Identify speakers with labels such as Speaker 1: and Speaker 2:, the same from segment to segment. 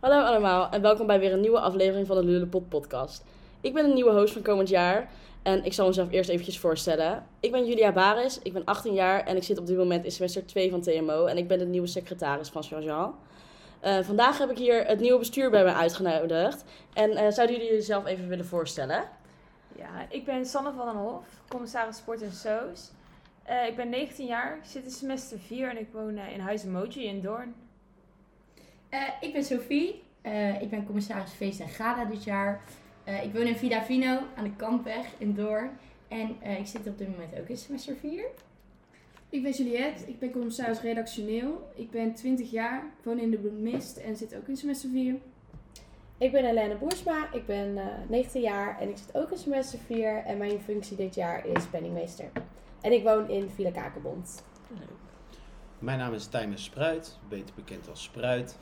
Speaker 1: Hallo allemaal en welkom bij weer een nieuwe aflevering van de Lullepop podcast. Ik ben de nieuwe host van komend jaar en ik zal mezelf eerst eventjes voorstellen. Ik ben Julia Baris, ik ben 18 jaar en ik zit op dit moment in semester 2 van TMO en ik ben de nieuwe secretaris van Jean-Jean. Eh, vandaag heb ik hier het nieuwe bestuur bij me uitgenodigd en eh, zouden jullie jezelf even willen voorstellen?
Speaker 2: Ja, ik ben Sanne van den Hof, commissaris Sport en Soos. Eh, ik ben 19 jaar, ik zit in semester 4 en ik woon eh, in Huizen Moji in Doorn.
Speaker 3: Eh, ik ben Sophie. Eh, ik ben commissaris Feest en Gala dit jaar. Eh, ik woon in Vidavino aan de Kampweg in Doorn. En eh, ik zit op dit moment ook in semester 4.
Speaker 4: Ik ben Juliette, ik ben commissaris redactioneel. Ik ben 20 jaar, ik woon in de Bloemist en zit ook in semester 4.
Speaker 5: Ik ben Helene Boersma, ik ben eh, 19 jaar en ik zit ook in semester 4 en mijn functie dit jaar is penningmeester. En ik woon in Villa Kakenbond.
Speaker 6: Mijn naam is Tijmen Spruit, beter bekend als Spruit.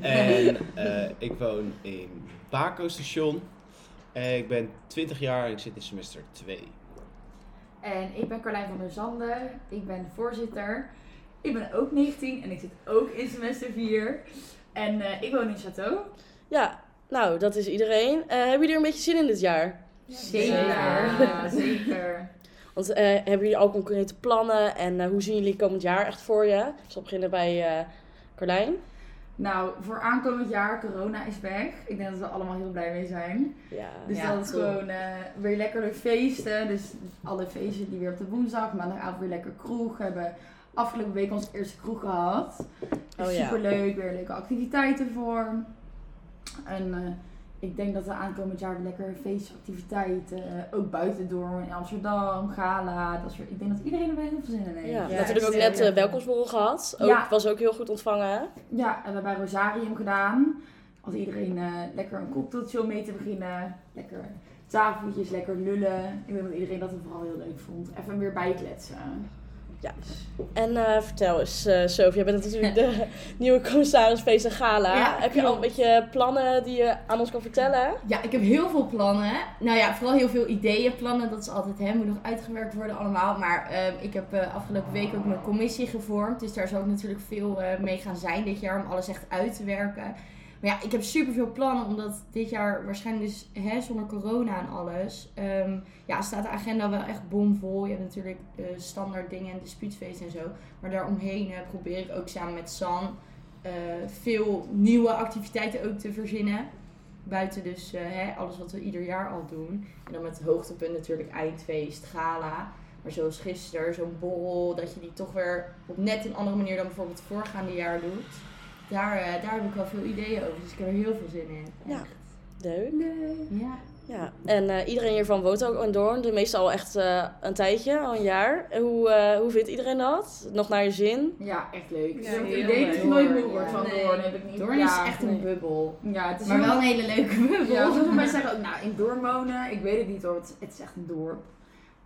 Speaker 6: en eh, ik woon in Baco station. Eh, ik ben 20 jaar en ik zit in semester 2.
Speaker 7: En ik ben Carlijn van der Zanden. Ik ben de voorzitter. Ik ben ook 19 en ik zit ook in semester 4. En eh, ik woon in Chateau.
Speaker 1: Ja, nou dat is iedereen. Eh, hebben jullie er een beetje zin in dit jaar?
Speaker 7: Ja, zeker.
Speaker 1: Want eh, hebben jullie al concrete plannen en eh, hoe zien jullie komend jaar echt voor je? Ik zal beginnen bij eh Carlijn.
Speaker 7: Nou, voor aankomend jaar, corona is weg. Ik denk dat we allemaal heel blij mee zijn.
Speaker 1: Ja.
Speaker 7: Dus
Speaker 1: ja,
Speaker 7: dat is
Speaker 1: cool.
Speaker 7: gewoon eh, weer lekkere feesten. Dus alle feesten die weer op de woensdag, maandagavond weer lekker kroeg hebben. Afgelopen week onze eerste kroeg gehad.
Speaker 1: Oh ja.
Speaker 7: superleuk, weer leuke activiteiten voor. En eh, ik denk dat we aankomend jaar lekker feestactiviteiten, eh, ook buiten Doorn, in Amsterdam, gala, dat soort. Ik denk dat iedereen er wel heel veel zin in heeft.
Speaker 1: Ja,
Speaker 7: Ja,
Speaker 1: natuurlijk ook
Speaker 3: zeker.
Speaker 1: net eh welkomstborrel gehad. Ook,
Speaker 7: Ja.
Speaker 1: Was ook heel goed ontvangen.
Speaker 7: en we hebben bij Rosarium gedaan. Als iedereen eh, lekker een cocktailtje om mee te beginnen, lekker tafeltjes, lekker lullen. Ik denk dat iedereen dat vooral heel leuk vond. Even weer bijkletsen.
Speaker 1: Ja. En eh, vertel eens, eh Sophie, jij bent natuurlijk de nieuwe commissaris Feest en Gala.
Speaker 3: Ja,
Speaker 1: Heb je al een
Speaker 3: klopt.
Speaker 1: beetje plannen die je aan ons kan vertellen?
Speaker 3: Ja, ik heb heel veel plannen. Nou ja, vooral heel veel ideeën. Plannen, dat is altijd, hè, moet nog uitgewerkt worden allemaal. Maar ehm, ik heb eh, afgelopen week ook mijn commissie gevormd. Dus daar zal ik natuurlijk veel eh, mee gaan zijn dit jaar om alles echt uit te werken. Maar ja, ik heb superveel plannen, omdat dit jaar waarschijnlijk dus hè, zonder corona en alles. ehm, ja, staat de agenda wel echt bomvol. Je hebt natuurlijk eh, standaard dingen en dispuutfeest en zo. Maar daaromheen eh, probeer ik ook samen met San eh, veel nieuwe activiteiten ook te verzinnen. Buiten dus eh, hè, alles wat we ieder jaar al doen. En dan met hoogtepunt natuurlijk eindfeest, gala. Maar zoals gisteren, zo'n borrel, dat je die toch weer op net een andere manier dan bijvoorbeeld het voorgaande jaar doet. Daar, eh, daar heb ik wel veel ideeën over, dus ik heb er heel veel zin in.
Speaker 1: Ja.
Speaker 3: Echt.
Speaker 1: Leuk.
Speaker 3: Ja.
Speaker 1: Ja. En eh, iedereen hiervan woont ook in Doorn. De meeste al echt eh, een tijdje, al een jaar. En Hoe, eh, hoe vindt iedereen dat? Nog naar je zin?
Speaker 7: Ja, echt leuk.
Speaker 4: Ja,
Speaker 7: ik heb het
Speaker 4: heel
Speaker 7: idee dat
Speaker 4: leuk.
Speaker 7: ik nooit moe word van
Speaker 3: Nee.
Speaker 7: Doorn, heb ik niet.
Speaker 3: Doorn
Speaker 7: Ja,
Speaker 3: is echt een
Speaker 7: nee.
Speaker 3: bubbel.
Speaker 7: Ja, het is
Speaker 3: Maar
Speaker 7: heel-
Speaker 3: wel een hele leuke bubbel.
Speaker 7: Ja, sommige mensen zeggen ook, nou, in dorp wonen, ik weet het niet hoor, want het is echt een dorp.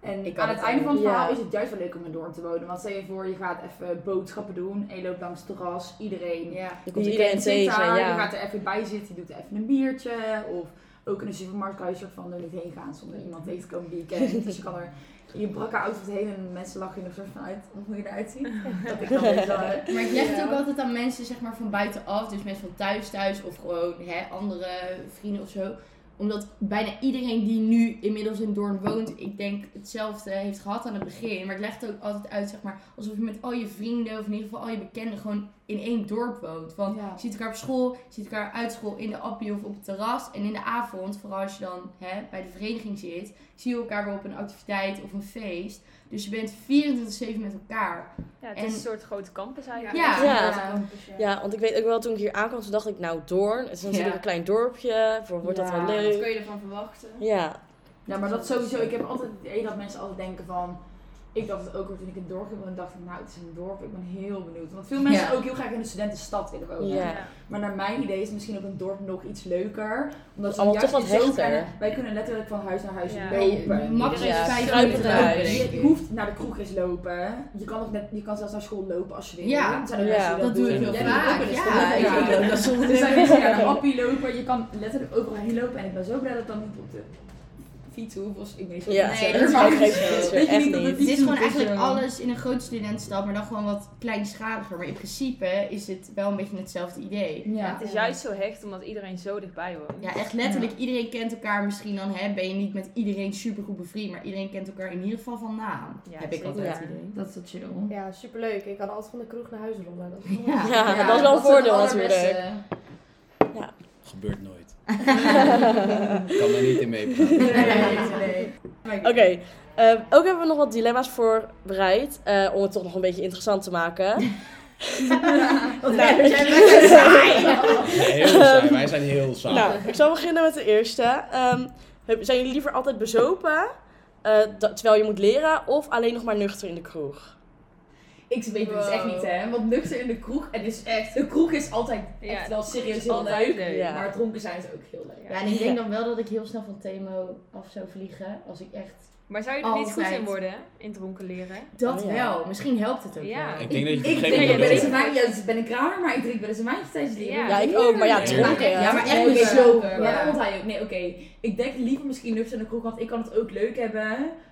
Speaker 7: En
Speaker 3: Ik kan
Speaker 7: aan het
Speaker 3: het
Speaker 7: einde van het
Speaker 1: ook.
Speaker 7: verhaal
Speaker 1: Ja.
Speaker 7: is het juist wel leuk om in een dorp te wonen. Want stel je voor, je gaat even boodschappen doen en je loopt langs het terras. Iedereen,
Speaker 3: Ja.
Speaker 1: Je
Speaker 7: die
Speaker 1: komt
Speaker 7: je
Speaker 1: iedereen
Speaker 7: kent zit
Speaker 1: tegen.
Speaker 7: daar,
Speaker 1: Ja.
Speaker 7: die gaat er even bij zitten, die doet even een biertje. Of ook in de supermarkt kan je soort van er niet heen gaan zonder iemand tegen te komen die je kent. dus je kan er in je brakke outfit heen en mensen lachen je er soort van uit hoe je eruit ziet. Dat ik dan best wel, hè.
Speaker 3: Maar ik leg het ook altijd aan mensen zeg maar, van buitenaf, dus mensen van thuis thuis of gewoon hè, andere vrienden of zo. Omdat bijna iedereen die nu inmiddels in Doorn woont, ik denk hetzelfde heeft gehad aan het begin. Maar ik leg het ook altijd uit, zeg maar, alsof je met al je vrienden of in ieder geval al je bekenden gewoon in één dorp woont. Want
Speaker 7: Ja.
Speaker 3: je ziet elkaar op school, je ziet elkaar uit school in de appie of op het terras. En in de avond, vooral als je dan hè, bij de vereniging zit, zie je elkaar weer op een activiteit of een feest. Dus je bent 24-7 met elkaar.
Speaker 2: Ja, het
Speaker 3: En-
Speaker 2: is een soort grote campus eigenlijk.
Speaker 3: Ja.
Speaker 1: Ja.
Speaker 7: Ja.
Speaker 1: Ja, want ik weet ook wel, toen ik hier aankwam, toen dacht ik, nou Doorn, het is natuurlijk
Speaker 3: Ja.
Speaker 1: een klein dorpje. Voor, wordt dat
Speaker 7: Ja,
Speaker 1: wel
Speaker 7: dat
Speaker 4: Wat kun
Speaker 1: leuk?
Speaker 4: je ervan verwachten?
Speaker 1: Ja.
Speaker 7: Ja, maar dat sowieso. Ik heb altijd het idee dat mensen altijd denken van... Ik dacht het ook hoor, toen ik in het dorp woonde, dacht ik, nou, het is een dorp. Ik ben heel benieuwd. Want veel mensen
Speaker 3: Ja.
Speaker 7: ook heel graag in de studentenstad willen wonen.
Speaker 1: Ja.
Speaker 7: Maar naar mijn idee is misschien ook een dorp nog iets leuker. Omdat ze
Speaker 1: Allemaal
Speaker 7: juist
Speaker 1: toch wat
Speaker 7: in zo'n
Speaker 1: hechter.
Speaker 7: kleine- Wij kunnen letterlijk van huis naar huis
Speaker 2: Ja.
Speaker 7: lopen.
Speaker 3: Max
Speaker 1: Ja,
Speaker 3: vijf
Speaker 1: kruipend
Speaker 3: minuten
Speaker 1: naar
Speaker 3: lopen,
Speaker 1: huis.
Speaker 3: denk
Speaker 7: Je
Speaker 3: ik.
Speaker 7: hoeft naar de kroeg eens lopen. Je kan, ook net, je kan zelfs naar school lopen als je wil.
Speaker 3: Ja.
Speaker 7: Er zijn ook
Speaker 1: Ja,
Speaker 7: mensen die dus
Speaker 3: Dat doe ik
Speaker 7: doen.
Speaker 3: heel
Speaker 7: Jij doet ook
Speaker 3: vaak. Dus
Speaker 7: wel eens,
Speaker 3: Ja,
Speaker 7: toch?
Speaker 3: ik doe dat
Speaker 7: Dus Er zijn mensen die naar de appie lopen. Je kan letterlijk overal heen lopen. En ik ben zo blij dat dat niet op de fietsen of ik weet
Speaker 1: Ja,
Speaker 3: Nee,
Speaker 1: dat is
Speaker 3: maar-
Speaker 1: ook geen
Speaker 7: Weet
Speaker 1: sponsor.
Speaker 7: je
Speaker 1: Echt
Speaker 7: niet dat het
Speaker 1: niet.
Speaker 3: Het is gewoon
Speaker 7: Dus,
Speaker 3: eigenlijk
Speaker 7: eh,
Speaker 3: alles in een grote studentenstad, maar dan gewoon wat kleinschaliger. Maar in principe is het wel een beetje hetzelfde idee.
Speaker 7: Ja.
Speaker 2: Het is juist zo hecht omdat iedereen zo dichtbij woont.
Speaker 3: Ja, echt letterlijk. Iedereen kent elkaar misschien dan. Hè, ben je niet met iedereen supergoed bevriend, maar iedereen kent elkaar in ieder geval van naam.
Speaker 2: Ja,
Speaker 3: heb ik
Speaker 2: zeker.
Speaker 3: altijd
Speaker 1: Ja.
Speaker 3: het idee.
Speaker 7: Dat is wel chill.
Speaker 5: Ja, superleuk. Ik kan altijd van de kroeg naar huis rollen. Dat is wel-
Speaker 3: Ja.
Speaker 1: Ja, dat is wel een voordeel natuurlijk.
Speaker 6: Gebeurt nooit. kan er niet in meepraten.
Speaker 1: Oké, ehm, ook hebben we nog wat dilemma's voorbereid. eh, om het toch nog een beetje interessant te maken.
Speaker 3: Want wij zijn lekker saai.
Speaker 6: Heel saai. Wij zijn heel saai.
Speaker 1: Nou, ik zal beginnen met de eerste. Ehm, heb- zijn jullie liever altijd bezopen eh, dat- terwijl je moet leren? Of alleen nog maar nuchter in de kroeg?
Speaker 7: Ik weet het dus echt niet, hè. Want nuchter in de kroeg, en is echt, de kroeg is altijd echt wel serieus heel leuk.
Speaker 1: Ja.
Speaker 7: Maar dronken zijn is ook heel leuk.
Speaker 3: Ja, en ik denk dan wel dat ik heel snel van Themo af zou vliegen. Als ik echt...
Speaker 2: Maar zou je er niet goed
Speaker 3: Altijd.
Speaker 2: in worden? In dronken leren?
Speaker 3: Dat
Speaker 1: Oh ja.
Speaker 3: wel. Misschien helpt het ook
Speaker 2: Ja.
Speaker 3: wel.
Speaker 6: Ik denk dat je
Speaker 7: Ik
Speaker 6: op een
Speaker 7: drink
Speaker 6: gegeven
Speaker 7: wel
Speaker 6: moment
Speaker 7: eens
Speaker 6: wel-
Speaker 7: een wijntje, ja, dus ik ben een kramer, maar ik drink wel eens een wijntje tijdens het leren.
Speaker 2: Ja.
Speaker 1: Ja, ik ook. Maar ja,
Speaker 6: Ja.
Speaker 1: dronken.
Speaker 3: Ja, maar echt
Speaker 7: Nee,
Speaker 3: niet
Speaker 7: nee,
Speaker 3: zo.
Speaker 7: Maar dat onthoud je ook. Nee, oké. Ik denk liever misschien nuchter in de kroeg, want ik kan het ook leuk hebben.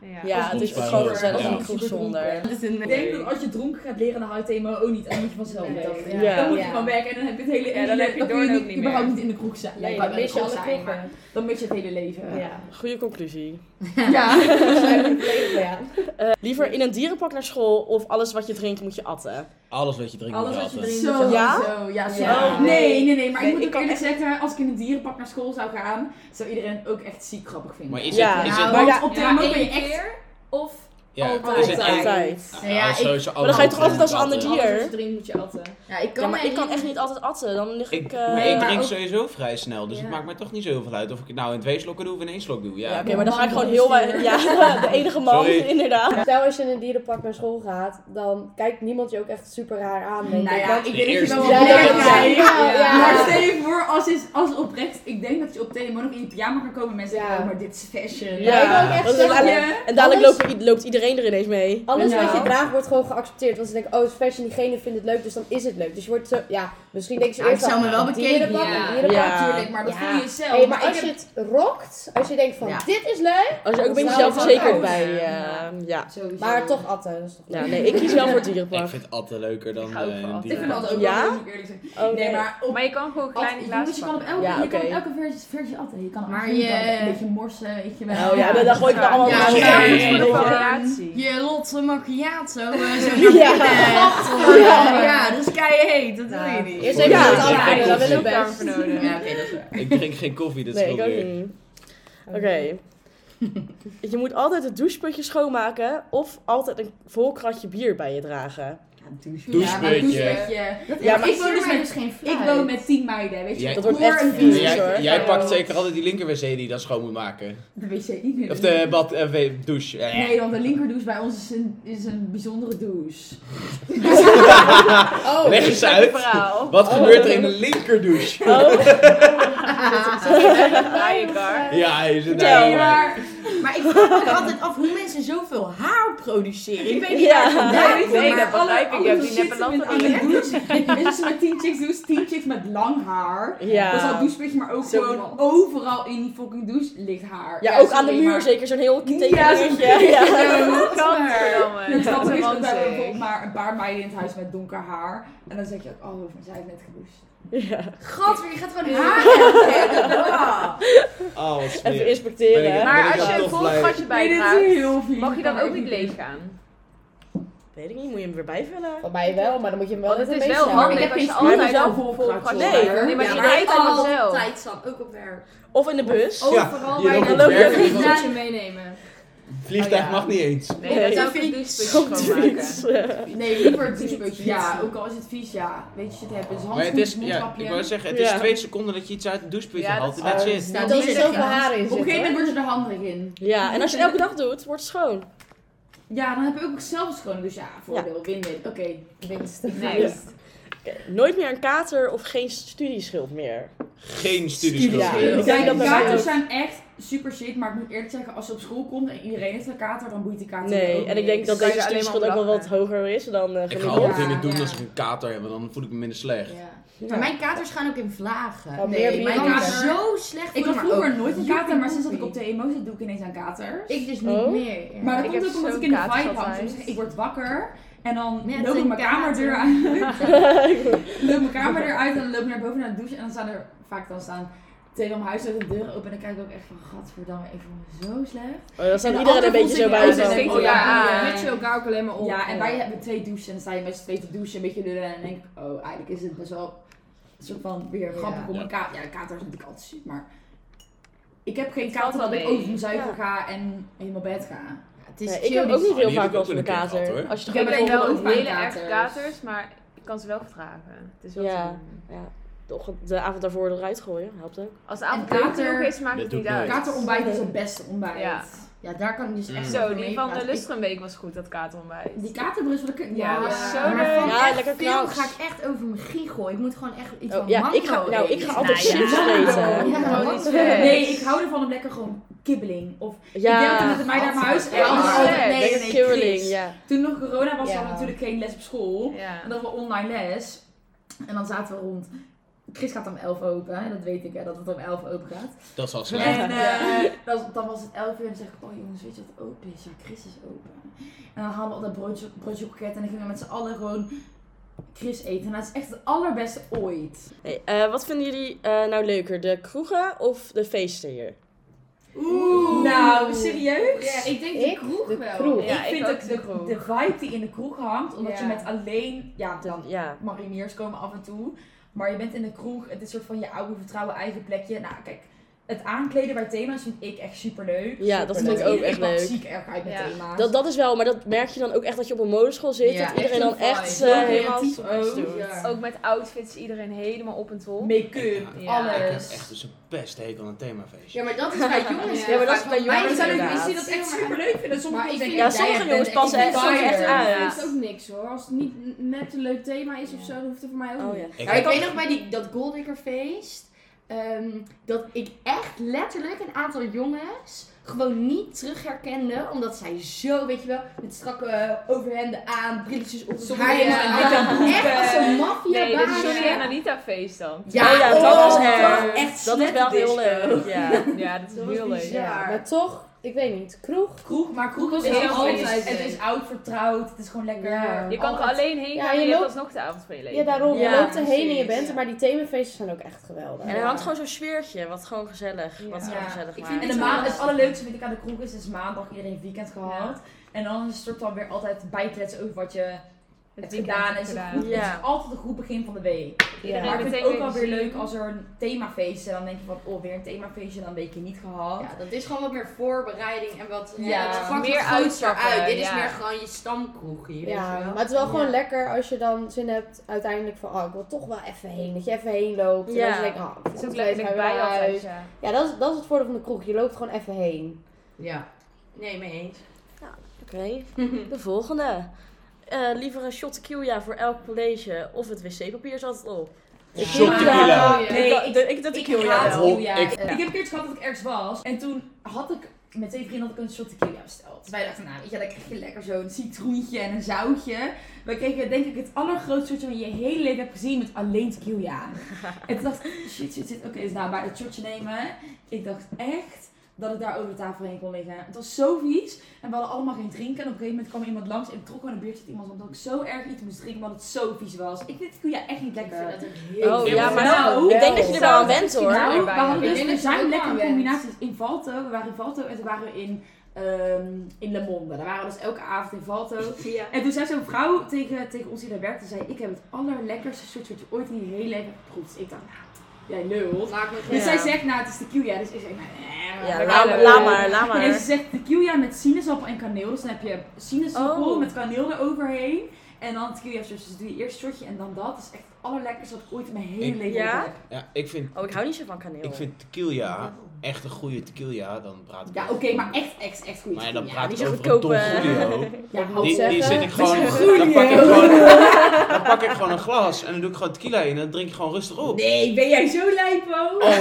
Speaker 2: Ja.
Speaker 1: Ja, het is ook gewoon gezellig in de kroeg zonder.
Speaker 3: Dat is een...
Speaker 7: Ik denk dat als je dronken gaat leren, dan houdt Thema ook niet. En dan moet je vanzelf
Speaker 5: Nee,
Speaker 7: weg.
Speaker 1: ja.
Speaker 7: Dan moet je
Speaker 5: Ja.
Speaker 7: gewoon werken en dan heb je het hele...
Speaker 2: Ja, dan heb je
Speaker 7: dan kun
Speaker 2: Doorn ook
Speaker 7: niet,
Speaker 2: niet
Speaker 7: überhaupt
Speaker 2: meer.
Speaker 7: niet in de kroeg zijn.
Speaker 5: Nee,
Speaker 7: Ja,
Speaker 5: dan
Speaker 7: je kan
Speaker 5: mis je
Speaker 7: wel in
Speaker 5: alle
Speaker 7: de kroeg zijn,
Speaker 5: kroegen.
Speaker 7: maar Dan mis je het hele leven.
Speaker 5: Ja,
Speaker 1: Goede conclusie.
Speaker 7: Ja.
Speaker 5: dat zijn we verleden, ja.
Speaker 1: Eh, liever in een dierenpak naar school of alles wat je drinkt moet je atten?
Speaker 6: Alles wat je drinkt
Speaker 7: Alles
Speaker 6: moet
Speaker 7: wat je
Speaker 6: je
Speaker 7: drinkt.
Speaker 1: Zo,
Speaker 7: Zo,
Speaker 1: ja?
Speaker 7: zo, ja, zo.
Speaker 5: Ja.
Speaker 7: Oh, nee, nee, nee. Maar
Speaker 2: Nee,
Speaker 7: ik moet
Speaker 2: ik
Speaker 7: ook
Speaker 2: kan
Speaker 7: eerlijk zeggen, als ik in een dierenpak naar school zou gaan, zou iedereen ook echt ziek grappig vinden.
Speaker 6: Maar is
Speaker 1: Ja.
Speaker 6: het... Is
Speaker 3: Nou,
Speaker 6: het
Speaker 7: Want
Speaker 1: ja,
Speaker 7: op de remote
Speaker 2: één
Speaker 7: ben je echt...
Speaker 2: keer Of
Speaker 6: ja,
Speaker 7: altijd.
Speaker 6: is het
Speaker 7: Altijd.
Speaker 6: echt-
Speaker 1: Altijd.
Speaker 3: Ja,
Speaker 6: Ah,
Speaker 3: ik-
Speaker 6: sowieso
Speaker 1: maar dan ga je toch
Speaker 6: allemaal
Speaker 1: altijd als
Speaker 6: drinken,
Speaker 1: ander dier?
Speaker 7: Alles wat je drinkt moet je atten.
Speaker 3: Ja, ik kan,
Speaker 1: Ja, maar
Speaker 3: me
Speaker 1: ik kan
Speaker 3: niet-
Speaker 1: echt niet altijd atten. Dan lig ik...
Speaker 6: Ik,
Speaker 1: eh,
Speaker 6: maar ik
Speaker 7: maar
Speaker 6: drink
Speaker 7: ook-
Speaker 6: sowieso vrij snel, dus
Speaker 1: Ja.
Speaker 6: het maakt me toch niet zoveel uit of ik het nou in twee slokken doe of in één slok doe.
Speaker 1: ja,
Speaker 6: Ja,
Speaker 1: oké, maar dan ga ik gewoon heel... wei- Ja, de enige man,
Speaker 6: Sorry.
Speaker 1: inderdaad.
Speaker 5: Stel als je in een dierenpak naar school gaat, dan kijkt niemand je ook echt super raar aan.
Speaker 7: Mm-hmm.
Speaker 5: Denk
Speaker 3: Nou
Speaker 5: ik.
Speaker 3: ja,
Speaker 5: Want-
Speaker 3: ik
Speaker 6: De
Speaker 3: denk dat je wel
Speaker 6: eerste.
Speaker 3: wat
Speaker 5: Ja,
Speaker 3: meer
Speaker 5: ja,
Speaker 3: kan
Speaker 5: ja.
Speaker 3: zijn.
Speaker 5: Ja, ja.
Speaker 7: Maar stel je voor, als, is, als oprecht, ik denk dat je op Telemoon nog in je pyjama kan komen en mensen
Speaker 5: Ja.
Speaker 7: zeggen, oh, maar dit is fashion.
Speaker 1: Ja,
Speaker 5: ik ook echt
Speaker 1: dat is
Speaker 5: zeggen,
Speaker 1: eigenlijk-
Speaker 7: Ja.
Speaker 1: En dadelijk
Speaker 5: Alles-
Speaker 1: loopt, loopt iedereen er ineens mee.
Speaker 5: Alles
Speaker 7: Ja.
Speaker 5: wat je draagt wordt gewoon geaccepteerd. Want ze denken, oh, het is fashion, diegene vindt het leuk, dus dan is het leuk. Dus je wordt zo, ja, misschien denken ze
Speaker 3: Ja, ik
Speaker 5: eerst
Speaker 3: zou
Speaker 5: al,
Speaker 3: me wel bekeken.
Speaker 5: dierenpak,
Speaker 7: Ja.
Speaker 5: dierenpak.
Speaker 1: Ja.
Speaker 7: natuurlijk, maar dat
Speaker 5: Ja.
Speaker 7: voel je zelf.
Speaker 5: Hey, maar
Speaker 7: Oh, Ik
Speaker 5: als
Speaker 7: heb-
Speaker 5: je het rockt, als je denkt van,
Speaker 3: Ja.
Speaker 5: dit is leuk,
Speaker 1: Als je ook een beetje
Speaker 5: Nou,
Speaker 1: zelfverzekerd
Speaker 5: dat
Speaker 1: bij...
Speaker 7: is-
Speaker 1: eh, ja.
Speaker 7: Sowieso.
Speaker 5: maar toch atten. Dat is toch
Speaker 1: ja, nee, ik kies wel voor het dierenpak.
Speaker 6: Ik vind atten leuker dan...
Speaker 2: Ik ga ook
Speaker 6: eh,
Speaker 2: voor atten.
Speaker 6: die-
Speaker 7: Ik vind dat ook
Speaker 1: Ja?
Speaker 7: wel moet ik eerlijk zeggen.
Speaker 1: Oh,
Speaker 7: Nee, maar op...
Speaker 2: Maar je kan gewoon kleine
Speaker 7: Altijd- jongens,
Speaker 2: glazen
Speaker 7: je kan op
Speaker 2: pakken.
Speaker 7: elke,
Speaker 1: Ja,
Speaker 7: je kan
Speaker 1: oké.
Speaker 7: op elke versie, versie atten. Je kan op
Speaker 3: Maar
Speaker 7: een vriend
Speaker 3: je-
Speaker 7: atten, een beetje morsen, weet je wel.
Speaker 1: Oh ja, dan, dan gooi ik er allemaal
Speaker 3: Ja,
Speaker 1: aan.
Speaker 3: ja,
Speaker 2: maar het
Speaker 3: ja,
Speaker 2: is voor
Speaker 3: ja.
Speaker 2: de variatie.
Speaker 7: eh,
Speaker 3: Je lotte macchiato. eh, zo
Speaker 1: Ja.
Speaker 3: ja. Ja. ja, dat is keiheet. Dat wil je niet.
Speaker 5: Eerst even
Speaker 1: Ja.
Speaker 5: ja.
Speaker 1: Ja,
Speaker 5: afvinden,
Speaker 6: ik
Speaker 5: dan
Speaker 6: wil
Speaker 5: wil ik
Speaker 6: ook
Speaker 5: best.
Speaker 2: voor nodig.
Speaker 3: Ja, oké, dat is waar.
Speaker 6: Ik drink geen koffie, dat is
Speaker 1: Nee,
Speaker 6: heel
Speaker 1: ik ook
Speaker 6: leuk.
Speaker 1: niet. Oké. Je moet altijd het doucheputje schoonmaken of altijd een vol kratje bier bij je dragen.
Speaker 3: Ja,
Speaker 6: Doucheputje.
Speaker 3: maar
Speaker 1: Ja, maar
Speaker 3: ik woon dus met, geen
Speaker 7: Ik woon met 10 meiden, weet je.
Speaker 6: Jij-
Speaker 1: Dat wordt
Speaker 7: Hoor
Speaker 1: echt
Speaker 7: een
Speaker 1: vies,
Speaker 7: vies.
Speaker 1: Ja,
Speaker 6: Jij,
Speaker 1: hoor.
Speaker 6: jij
Speaker 1: Oh.
Speaker 6: pakt zeker altijd die linker wc die dat schoon moet maken.
Speaker 7: De wc niet meer.
Speaker 6: Of de bad, eh, we- douche. Eh.
Speaker 7: Nee, want de linkerdouche bij ons is een, is een bijzondere douche.
Speaker 5: Oh,
Speaker 6: Leg eens uit.
Speaker 2: Verhaal.
Speaker 6: Wat gebeurt er in de linkerdouche?
Speaker 1: Oh,
Speaker 2: Draaiengar.
Speaker 6: Ja, je zit
Speaker 1: Vertel.
Speaker 6: daar.
Speaker 1: Ja,
Speaker 3: maar, maar ik vraag me altijd af hoe mensen zoveel haar produceren. Ik weet niet
Speaker 1: Ja.
Speaker 3: waar het vandaan
Speaker 7: weet
Speaker 2: Nee,
Speaker 7: je,
Speaker 2: nee,
Speaker 7: maar
Speaker 2: dat begrijp ik.
Speaker 7: alle-
Speaker 2: Je hebt
Speaker 7: alle
Speaker 2: die neppe
Speaker 7: shit
Speaker 2: lampen
Speaker 7: zit in de douche. Dus als je met 10 chicks douche, 10 chicks met lang haar. Dat is al
Speaker 1: ja.
Speaker 7: doucheputje, maar ook
Speaker 2: Zo
Speaker 7: gewoon
Speaker 2: man.
Speaker 7: overal in die fucking douche ligt haar.
Speaker 1: Ja, ook
Speaker 7: zo
Speaker 1: aan de
Speaker 7: alleen
Speaker 1: muur
Speaker 7: maar-
Speaker 1: zeker zo'n heel
Speaker 7: Ja, zo'n
Speaker 1: tekeningetje. Ja.
Speaker 7: Het grappige is dat wij hebben
Speaker 2: Gadverdamme.
Speaker 7: bijvoorbeeld maar een paar meiden in het huis met donker haar. En dan zeg je ook, oh, zij heeft net gedoucht.
Speaker 1: Ja.
Speaker 3: Gadver, je gaat gewoon haar.
Speaker 7: Haar! Ja.
Speaker 6: Oh, wat smerig.
Speaker 1: Even inspecteren.
Speaker 6: Ben ik-
Speaker 2: Maar
Speaker 6: wel
Speaker 2: als je
Speaker 6: tof
Speaker 2: een vol
Speaker 6: blij.
Speaker 2: gatje
Speaker 7: Nee, dit is
Speaker 2: bijdraagt,
Speaker 7: heel vies.
Speaker 2: mag je dan
Speaker 7: Kan
Speaker 2: ook
Speaker 7: ik
Speaker 2: niet leeg gaan.
Speaker 1: Weet ik niet, moet je hem weer bijvullen?
Speaker 5: Van mij wel, maar dan moet je hem wel
Speaker 2: Want het
Speaker 5: net
Speaker 2: is
Speaker 5: een
Speaker 2: wel
Speaker 5: beetje houden.
Speaker 2: handig als je
Speaker 7: Ik heb
Speaker 2: altijd
Speaker 7: mezelf
Speaker 2: een vol
Speaker 7: vol
Speaker 2: gatje
Speaker 1: Nee,
Speaker 2: bij-
Speaker 1: nee,
Speaker 2: Nee, maar
Speaker 1: Ja,
Speaker 2: je
Speaker 1: maar
Speaker 2: draait
Speaker 1: ik
Speaker 2: altijd vanzelf.
Speaker 3: Sam, ook op werk.
Speaker 1: Of in de bus.
Speaker 6: oh. Overal ja,
Speaker 1: je
Speaker 6: je
Speaker 1: loopt.
Speaker 6: werkt,
Speaker 1: Ja.
Speaker 6: in ieder geval.
Speaker 4: je meenemen.
Speaker 6: Vliegtuig
Speaker 3: Oh, ja.
Speaker 6: mag niet eens.
Speaker 1: Nee,
Speaker 2: Nee, dat zou
Speaker 3: dat
Speaker 2: ik
Speaker 3: vind
Speaker 2: het
Speaker 3: ik
Speaker 2: doucheputje
Speaker 1: Op de
Speaker 2: schoonmaken.
Speaker 1: fiets. Ja.
Speaker 7: Nee, liever het doucheputje. Ja, ook al is het vies, ja. Weet je, het hebben is
Speaker 6: Maar het
Speaker 7: handschoenen,
Speaker 6: is,
Speaker 7: is,
Speaker 6: ja,
Speaker 7: mondkapje.
Speaker 6: ik wou zeggen, het is
Speaker 1: Ja.
Speaker 6: twee seconden dat je iets uit het doucheputje
Speaker 2: Ja,
Speaker 6: haalt en
Speaker 2: dat
Speaker 6: that's
Speaker 2: is-
Speaker 6: it.
Speaker 5: Want er zit zoveel
Speaker 7: Op
Speaker 5: haar in
Speaker 7: een
Speaker 5: zitten.
Speaker 7: gegeven moment word je er handig in.
Speaker 1: ja, en als je het elke dag doet, wordt het schoon.
Speaker 7: Ja, dan heb je ook zelf schoon. Dus ja, voordeel, win-win. Oké.
Speaker 5: Winst.
Speaker 2: Nee.
Speaker 1: Oké, Nooit meer een kater of geen studieschuld meer.
Speaker 6: Geen studieschuld.
Speaker 1: Ja,
Speaker 6: meer.
Speaker 1: ik denk dat bij mij
Speaker 7: katers
Speaker 1: ook.
Speaker 7: zijn echt super shit, maar ik moet eerlijk zeggen, als je op school komt en iedereen heeft een kater, dan boeit die kater
Speaker 1: Nee,
Speaker 7: ook
Speaker 1: en ik
Speaker 7: niks.
Speaker 1: denk dat
Speaker 2: Kan je
Speaker 1: deze
Speaker 2: er alleen maar
Speaker 1: studieschuld
Speaker 2: om
Speaker 1: ook wel wat
Speaker 2: lachen.
Speaker 1: hoger is dan eh
Speaker 6: Ik ga
Speaker 1: gemiddeld.
Speaker 6: altijd
Speaker 7: Ja,
Speaker 6: dingen doen
Speaker 7: ja.
Speaker 6: als ik een kater heb, want dan voel ik me minder slecht.
Speaker 7: Ja.
Speaker 3: Maar mijn katers gaan ook in vlagen.
Speaker 5: Al
Speaker 3: Nee,
Speaker 5: meer
Speaker 3: mijn
Speaker 5: bier-
Speaker 3: katers zo slecht
Speaker 7: Ik
Speaker 3: voor
Speaker 7: had
Speaker 3: me,
Speaker 7: vroeger
Speaker 3: ook
Speaker 7: nooit een
Speaker 3: super
Speaker 7: kater, maar sinds dat ik
Speaker 3: poepie.
Speaker 7: op de emotie zit, doe ik ineens aan katers.
Speaker 3: Ik dus niet
Speaker 1: Oh?
Speaker 3: meer. ja.
Speaker 7: maar
Speaker 2: ik
Speaker 7: dat
Speaker 2: heb
Speaker 7: komt ook omdat
Speaker 2: zo'n
Speaker 7: ik in de
Speaker 2: katers
Speaker 7: vibe hang.
Speaker 2: altijd.
Speaker 7: Soms- Ik word wakker en dan
Speaker 3: Met
Speaker 7: loop ik
Speaker 3: een
Speaker 7: mijn
Speaker 3: kater.
Speaker 7: kamerdeur uit. loop mijn kamerdeur uit en dan loop ik naar boven naar de douche. En dan staan er vaak dan staan tegen mijn huis uit de deur open. En dan kijk ik ook echt van, gadverdamme, ik voel me zo slecht.
Speaker 1: Oh, dan staat
Speaker 7: En de
Speaker 1: iedereen een
Speaker 7: ander
Speaker 1: beetje zo
Speaker 7: voelt
Speaker 1: bij.
Speaker 7: zich
Speaker 1: zo.
Speaker 7: ook
Speaker 1: Oh,
Speaker 7: een
Speaker 1: ja.
Speaker 2: ja.
Speaker 4: Met je elkaar ook alleen maar op.
Speaker 7: ja, en wij hebben twee douches. En dan sta je met z'n twee te douchen, een beetje lullen. En dan denk ik, oh, eigenlijk is het best wel een soort van weer grappig om
Speaker 6: Ja.
Speaker 7: een kater. Ja, de kater is natuurlijk altijd ziek, maar... Ik heb geen
Speaker 2: valt
Speaker 7: kater dat
Speaker 2: wel
Speaker 7: ik
Speaker 2: mee.
Speaker 7: over mijn zuiver
Speaker 2: Ja.
Speaker 7: ga en helemaal bed ga.
Speaker 3: Het is
Speaker 1: Nee,
Speaker 3: chill
Speaker 1: ik heb
Speaker 3: niet
Speaker 1: ook niet
Speaker 3: zo.
Speaker 1: heel
Speaker 6: die
Speaker 1: vaak
Speaker 6: heb ik ook
Speaker 1: last van
Speaker 6: in
Speaker 1: de
Speaker 6: een keer gehad,
Speaker 1: kater.
Speaker 6: hoor.
Speaker 1: Als je
Speaker 7: Ik
Speaker 1: toch
Speaker 7: heb alleen
Speaker 2: wel
Speaker 7: wel
Speaker 2: ook
Speaker 7: fijn
Speaker 2: hele erg
Speaker 7: katers.
Speaker 2: katers, maar ik kan ze wel verdragen. Het is wel
Speaker 1: Ja.
Speaker 2: te doen.
Speaker 1: Ja, de, ochtend- de avond daarvoor eruit gooien, helpt ook.
Speaker 2: Als de avond
Speaker 7: En
Speaker 2: leuk
Speaker 7: kater-
Speaker 2: genoeg is, maakt
Speaker 6: Dat
Speaker 2: het
Speaker 6: doe
Speaker 2: niet
Speaker 6: ik
Speaker 2: uit.
Speaker 6: nooit.
Speaker 7: Katerontbijt is het beste ontbijt.
Speaker 2: Ja.
Speaker 3: Ja, daar kan ik dus echt
Speaker 6: Mm.
Speaker 3: over
Speaker 2: Zo, die van de
Speaker 3: meepraten. Ik-
Speaker 2: Lustrenbeek was goed, dat katerontbijt.
Speaker 7: Die katerbrus wil ik... Ja,
Speaker 2: Ja, dat is zo
Speaker 3: maar
Speaker 2: leuk.
Speaker 3: van
Speaker 1: Ja,
Speaker 3: echt
Speaker 1: lekker
Speaker 3: veel
Speaker 1: knauws.
Speaker 3: ga ik echt over mijn giegel. Ik moet gewoon echt iets
Speaker 1: Oh,
Speaker 3: van
Speaker 1: ja,
Speaker 3: mango
Speaker 1: ik ga- nou, ik ga
Speaker 3: eten.
Speaker 1: altijd
Speaker 3: Nou ja.
Speaker 1: chips eten.
Speaker 3: Ja, nou,
Speaker 2: Gewoon
Speaker 3: mango.
Speaker 2: iets vets.
Speaker 7: Nee, ik hou ervan om lekker gewoon kibbeling. Of ik deelde met mij naar mijn huis.
Speaker 2: Ja,
Speaker 7: En anders
Speaker 2: altijd.
Speaker 7: altijd- nee,
Speaker 1: Lekker
Speaker 7: nee,
Speaker 1: kibbeling,
Speaker 7: Chris.
Speaker 1: ja.
Speaker 7: Toen nog corona was,
Speaker 5: Ja.
Speaker 7: hadden we natuurlijk geen les op school.
Speaker 2: Ja.
Speaker 7: En dat we online les. En dan zaten we rond... Chris gaat om 11 open, hè, dat weet ik hè, dat het om 11 open gaat.
Speaker 6: Dat zal zijn.
Speaker 7: En eh, dan, dan was het 11 uur en dan zeg ik, oh jongens, weet je wat open is? Ja, Chris is open. En dan haalden we al dat broodje, broodje kroket en dan gingen we met z'n allen gewoon Chris eten. En dat is echt het allerbeste ooit.
Speaker 1: Hey, eh, wat vinden jullie eh, nou leuker, de kroegen of de feesten hier?
Speaker 7: Oeh. Nou, serieus? Oh,
Speaker 4: Ja, ik denk de
Speaker 5: Ik?
Speaker 4: kroeg
Speaker 5: De
Speaker 4: wel.
Speaker 5: kroeg.
Speaker 2: Ja,
Speaker 7: ik
Speaker 2: ik
Speaker 7: vind
Speaker 2: ook
Speaker 7: ook
Speaker 2: de
Speaker 7: de,
Speaker 2: kroeg.
Speaker 7: de vibe die in de kroeg hangt, omdat
Speaker 4: Ja.
Speaker 7: je met alleen, ja,
Speaker 1: De,
Speaker 7: dan
Speaker 1: ja.
Speaker 7: mariniers komen af en toe. Maar je bent in de kroeg, het is soort van je oude vertrouwen eigen plekje. Nou, kijk, het aankleden bij thema's vind ik echt super leuk.
Speaker 1: ja, dat vind ik ook echt
Speaker 7: Ik
Speaker 1: leuk.
Speaker 7: ziek erg uit met
Speaker 2: Ja.
Speaker 7: thema's.
Speaker 1: Dat, dat is wel, maar dat merk je dan ook echt dat je op een modeschool zit.
Speaker 3: Ja,
Speaker 1: dat iedereen
Speaker 7: echt
Speaker 1: dan
Speaker 7: een
Speaker 1: echt
Speaker 7: vibe.
Speaker 1: eh,
Speaker 7: Heel
Speaker 1: helemaal
Speaker 7: creatief
Speaker 1: stoers
Speaker 7: ook.
Speaker 1: doet.
Speaker 4: Ja.
Speaker 2: Ook met outfits, iedereen helemaal op en top.
Speaker 7: Make-up,
Speaker 2: Ja.
Speaker 6: Ik heb
Speaker 7: alles.
Speaker 6: echt dus een best hekel aan themafeestje.
Speaker 3: Ja, maar dat is bij jongens.
Speaker 4: Ja,
Speaker 3: heel
Speaker 1: maar dat
Speaker 3: vaak,
Speaker 1: is bij jongens
Speaker 3: want meiden zijn ook
Speaker 1: inderdaad.
Speaker 3: mensen
Speaker 7: die
Speaker 3: die
Speaker 7: dat echt super leuk vinden. Sommige
Speaker 3: Maar ik
Speaker 7: mensen
Speaker 3: vind
Speaker 1: Ja,
Speaker 7: denken,
Speaker 1: sommige
Speaker 3: jij
Speaker 1: jongens
Speaker 3: bent
Speaker 1: passen echt,
Speaker 3: echt
Speaker 1: soms echt
Speaker 3: fire.
Speaker 4: Dat
Speaker 1: uit.
Speaker 4: is ook niks hoor. Als het niet net een leuk thema is of zo, dan hoeft het voor mij ook
Speaker 1: Oh
Speaker 4: niet.
Speaker 1: ja.
Speaker 6: Ik
Speaker 3: Ja, ik
Speaker 6: heb-
Speaker 3: weet nog bij die, dat Goldiggerfeest. ehm dat ik echt letterlijk een aantal jongens gewoon niet terug herkende. Omdat zij zo, weet je wel, met strakke eh, overhemden aan, brilletjes op hun
Speaker 7: Sommige
Speaker 3: haar.
Speaker 7: jongens
Speaker 3: en-
Speaker 7: met een broek,
Speaker 3: Echt als een
Speaker 7: eh,
Speaker 3: maffia
Speaker 2: Nee, dat is
Speaker 3: bazen.
Speaker 2: Johnny en Anita feest dan.
Speaker 3: Ja,
Speaker 1: Oh ja, dat
Speaker 3: oh,
Speaker 1: was
Speaker 3: dat
Speaker 1: erg.
Speaker 3: echt
Speaker 1: Dat is wel heel
Speaker 7: slechte
Speaker 1: leuk. Ja.
Speaker 2: Ja, dat is
Speaker 7: Dat was
Speaker 2: heel leuk.
Speaker 7: bizar.
Speaker 2: Ja.
Speaker 5: Ja, maar toch, ik weet niet, kroeg.
Speaker 7: Kroeg, maar kroeg
Speaker 4: Kroeg
Speaker 7: is
Speaker 4: is
Speaker 7: heel
Speaker 4: altijd
Speaker 7: altijd.
Speaker 4: leuk.
Speaker 7: Het is oud vertrouwd, het is gewoon lekker.
Speaker 5: Ja.
Speaker 2: Je kan er
Speaker 7: Altijd.
Speaker 2: alleen heen
Speaker 5: Ja,
Speaker 2: gaan
Speaker 5: je
Speaker 2: en je hebt
Speaker 5: loopt-
Speaker 2: alsnog de avond van je leven.
Speaker 5: Ja, daarom. Je
Speaker 1: Ja,
Speaker 5: loopt erheen en je
Speaker 4: precies.
Speaker 5: bent er, maar die themafeestjes zijn ook echt geweldig.
Speaker 1: En er hangt gewoon zo'n sfeertje, wat gewoon gezellig,
Speaker 2: Ja.
Speaker 1: wat
Speaker 7: Ja.
Speaker 1: gewoon gezellig
Speaker 4: Ik
Speaker 1: maakt.
Speaker 7: En de maand, het allerleukste vind ik aan de kroeg is, is maandag iedereen heeft weekend gehad. En dan is het soort van weer altijd bijkletsen over wat je hebt
Speaker 2: weekend
Speaker 7: gedaan. En
Speaker 2: heb
Speaker 7: zo
Speaker 2: gedaan.
Speaker 7: goed-
Speaker 1: Ja.
Speaker 7: Het is altijd een goed begin van de week.
Speaker 5: Ja.
Speaker 7: Maar ik vind
Speaker 2: meteen
Speaker 7: het ook
Speaker 2: weer
Speaker 7: wel weer
Speaker 2: gezien.
Speaker 7: leuk als er een themafeest is. En dan denk je van, oh weer een themafeestje, dan een weekje niet gehad.
Speaker 3: Ja, dat is gewoon wat meer voorbereiding en wat
Speaker 7: Ja,
Speaker 3: ja, het
Speaker 2: meer
Speaker 3: meer uit
Speaker 2: uitstappen,
Speaker 3: eruit. Oh, Dit is
Speaker 2: ja.
Speaker 3: meer gewoon je stamkroeg hier. weet
Speaker 5: Ja,
Speaker 3: je wel.
Speaker 5: maar het is wel gewoon
Speaker 3: Ja.
Speaker 5: lekker als je dan zin hebt uiteindelijk van, oh, ik wil toch wel even heen. Dat je even heen loopt.
Speaker 1: Ja.
Speaker 5: En dan denk je, oh,
Speaker 2: Het is ook
Speaker 5: volgende
Speaker 2: lekker
Speaker 5: week ga je
Speaker 2: dichtbij
Speaker 5: weer naar
Speaker 2: altijd.
Speaker 5: huis.
Speaker 2: Ja.
Speaker 5: Ja, dat is, dat is het voordeel van de kroeg. Je loopt gewoon even heen.
Speaker 3: Ja. Nee, mee eens.
Speaker 1: Oké, de volgende. Eh, liever een shot tequila voor elk college of het wc-papier zat het op.
Speaker 6: Een
Speaker 1: Ja.
Speaker 6: shot tequila.
Speaker 1: Ik-
Speaker 7: Nee,
Speaker 1: ik,
Speaker 7: ik-
Speaker 1: de- ik, dat
Speaker 7: Ik
Speaker 1: tequila
Speaker 7: haat
Speaker 1: wel.
Speaker 6: wel.
Speaker 7: tequila.
Speaker 6: Ik-
Speaker 7: Ik, heb een keertje gehad dat ik ergens was. En toen had ik met twee vrienden had ik een shot tequila besteld. Wij dachten, nou weet je, dan krijg je lekker zo'n citroentje en een zoutje. Wij kregen denk ik het allergrootste shotje wat je je hele leven hebt gezien met alleen tequila. en toen dacht ik, shit, shit, shit. Oké, dus nou, maar het shotje nemen. Ik dacht echt dat ik daar over de tafel heen kon liggen. Het was zo vies. En we hadden allemaal geen drinken. En op een gegeven moment kwam iemand langs en trok me een biertje uit iemand. Omdat ik zo erg iets moest drinken, omdat het zo vies was. Ik vind tequila echt niet
Speaker 3: Ik
Speaker 7: lekker.
Speaker 3: vind dat een
Speaker 1: Oh
Speaker 3: heel
Speaker 1: ja, maar
Speaker 7: Nou,
Speaker 1: ik denk dat je er wel aan
Speaker 2: zou-
Speaker 1: bent hoor.
Speaker 2: Nou,
Speaker 7: Nou, we
Speaker 2: bij
Speaker 7: hadden
Speaker 3: hebben.
Speaker 7: dus,
Speaker 3: Ik
Speaker 7: er
Speaker 3: denk dat je
Speaker 7: zijn
Speaker 3: er ook
Speaker 7: lekkere
Speaker 3: aan bent.
Speaker 7: combinaties in Valto. We waren in Valto en toen waren we in, ehm in Le Monde. Daar waren we dus elke avond in Valto. En toen zei zo'n vrouw tegen, tegen ons die daar werkte, zei ik heb het allerlekkerste shot wat je ooit in je hele leven hebt geproefd. Dus ik dacht, nou, jij lult.
Speaker 3: Maakt me
Speaker 7: Dus
Speaker 3: geen
Speaker 1: Ja.
Speaker 7: zij zegt, nou het is tequila. Dus ik zeg, nee.
Speaker 1: Ja,
Speaker 7: we
Speaker 1: laat
Speaker 7: gaan
Speaker 1: maar,
Speaker 7: er-
Speaker 1: laat maar, laat
Speaker 7: En ze
Speaker 1: maar.
Speaker 7: zegt tequila met sinaasappel en kaneel. Dus dan heb je sinaasappel
Speaker 1: Oh.
Speaker 7: met kaneel eroverheen. En dan tequila shotjes. Dus doe je eerst shotje en dan dat. Dat is echt het allerlekkerste wat ik ooit in mijn hele
Speaker 6: Ik-
Speaker 7: leven
Speaker 1: Ja?
Speaker 7: heb.
Speaker 6: Ja, ik vind,
Speaker 1: Oh, ik hou niet zo van kaneel.
Speaker 6: ik vind tequila, echt een goede tequila, dan praat ik
Speaker 7: Ja, oké,
Speaker 6: over-
Speaker 7: maar echt, echt, echt goed.
Speaker 6: Maar ja, dan
Speaker 7: Ja,
Speaker 6: praat
Speaker 1: niet
Speaker 6: ik
Speaker 1: zo
Speaker 6: over een Don
Speaker 1: goedkope.
Speaker 6: Julio.
Speaker 7: Ja,
Speaker 6: Die, die
Speaker 5: zeggen.
Speaker 6: zet ik gewoon,
Speaker 7: Dat is een
Speaker 6: dan pak ik
Speaker 7: goeie.
Speaker 6: gewoon, dan pak ik gewoon een glas en dan doe ik gewoon tequila in en dan drink ik gewoon rustig op.
Speaker 7: Nee, ben jij zo lijpo?
Speaker 6: Oh, zo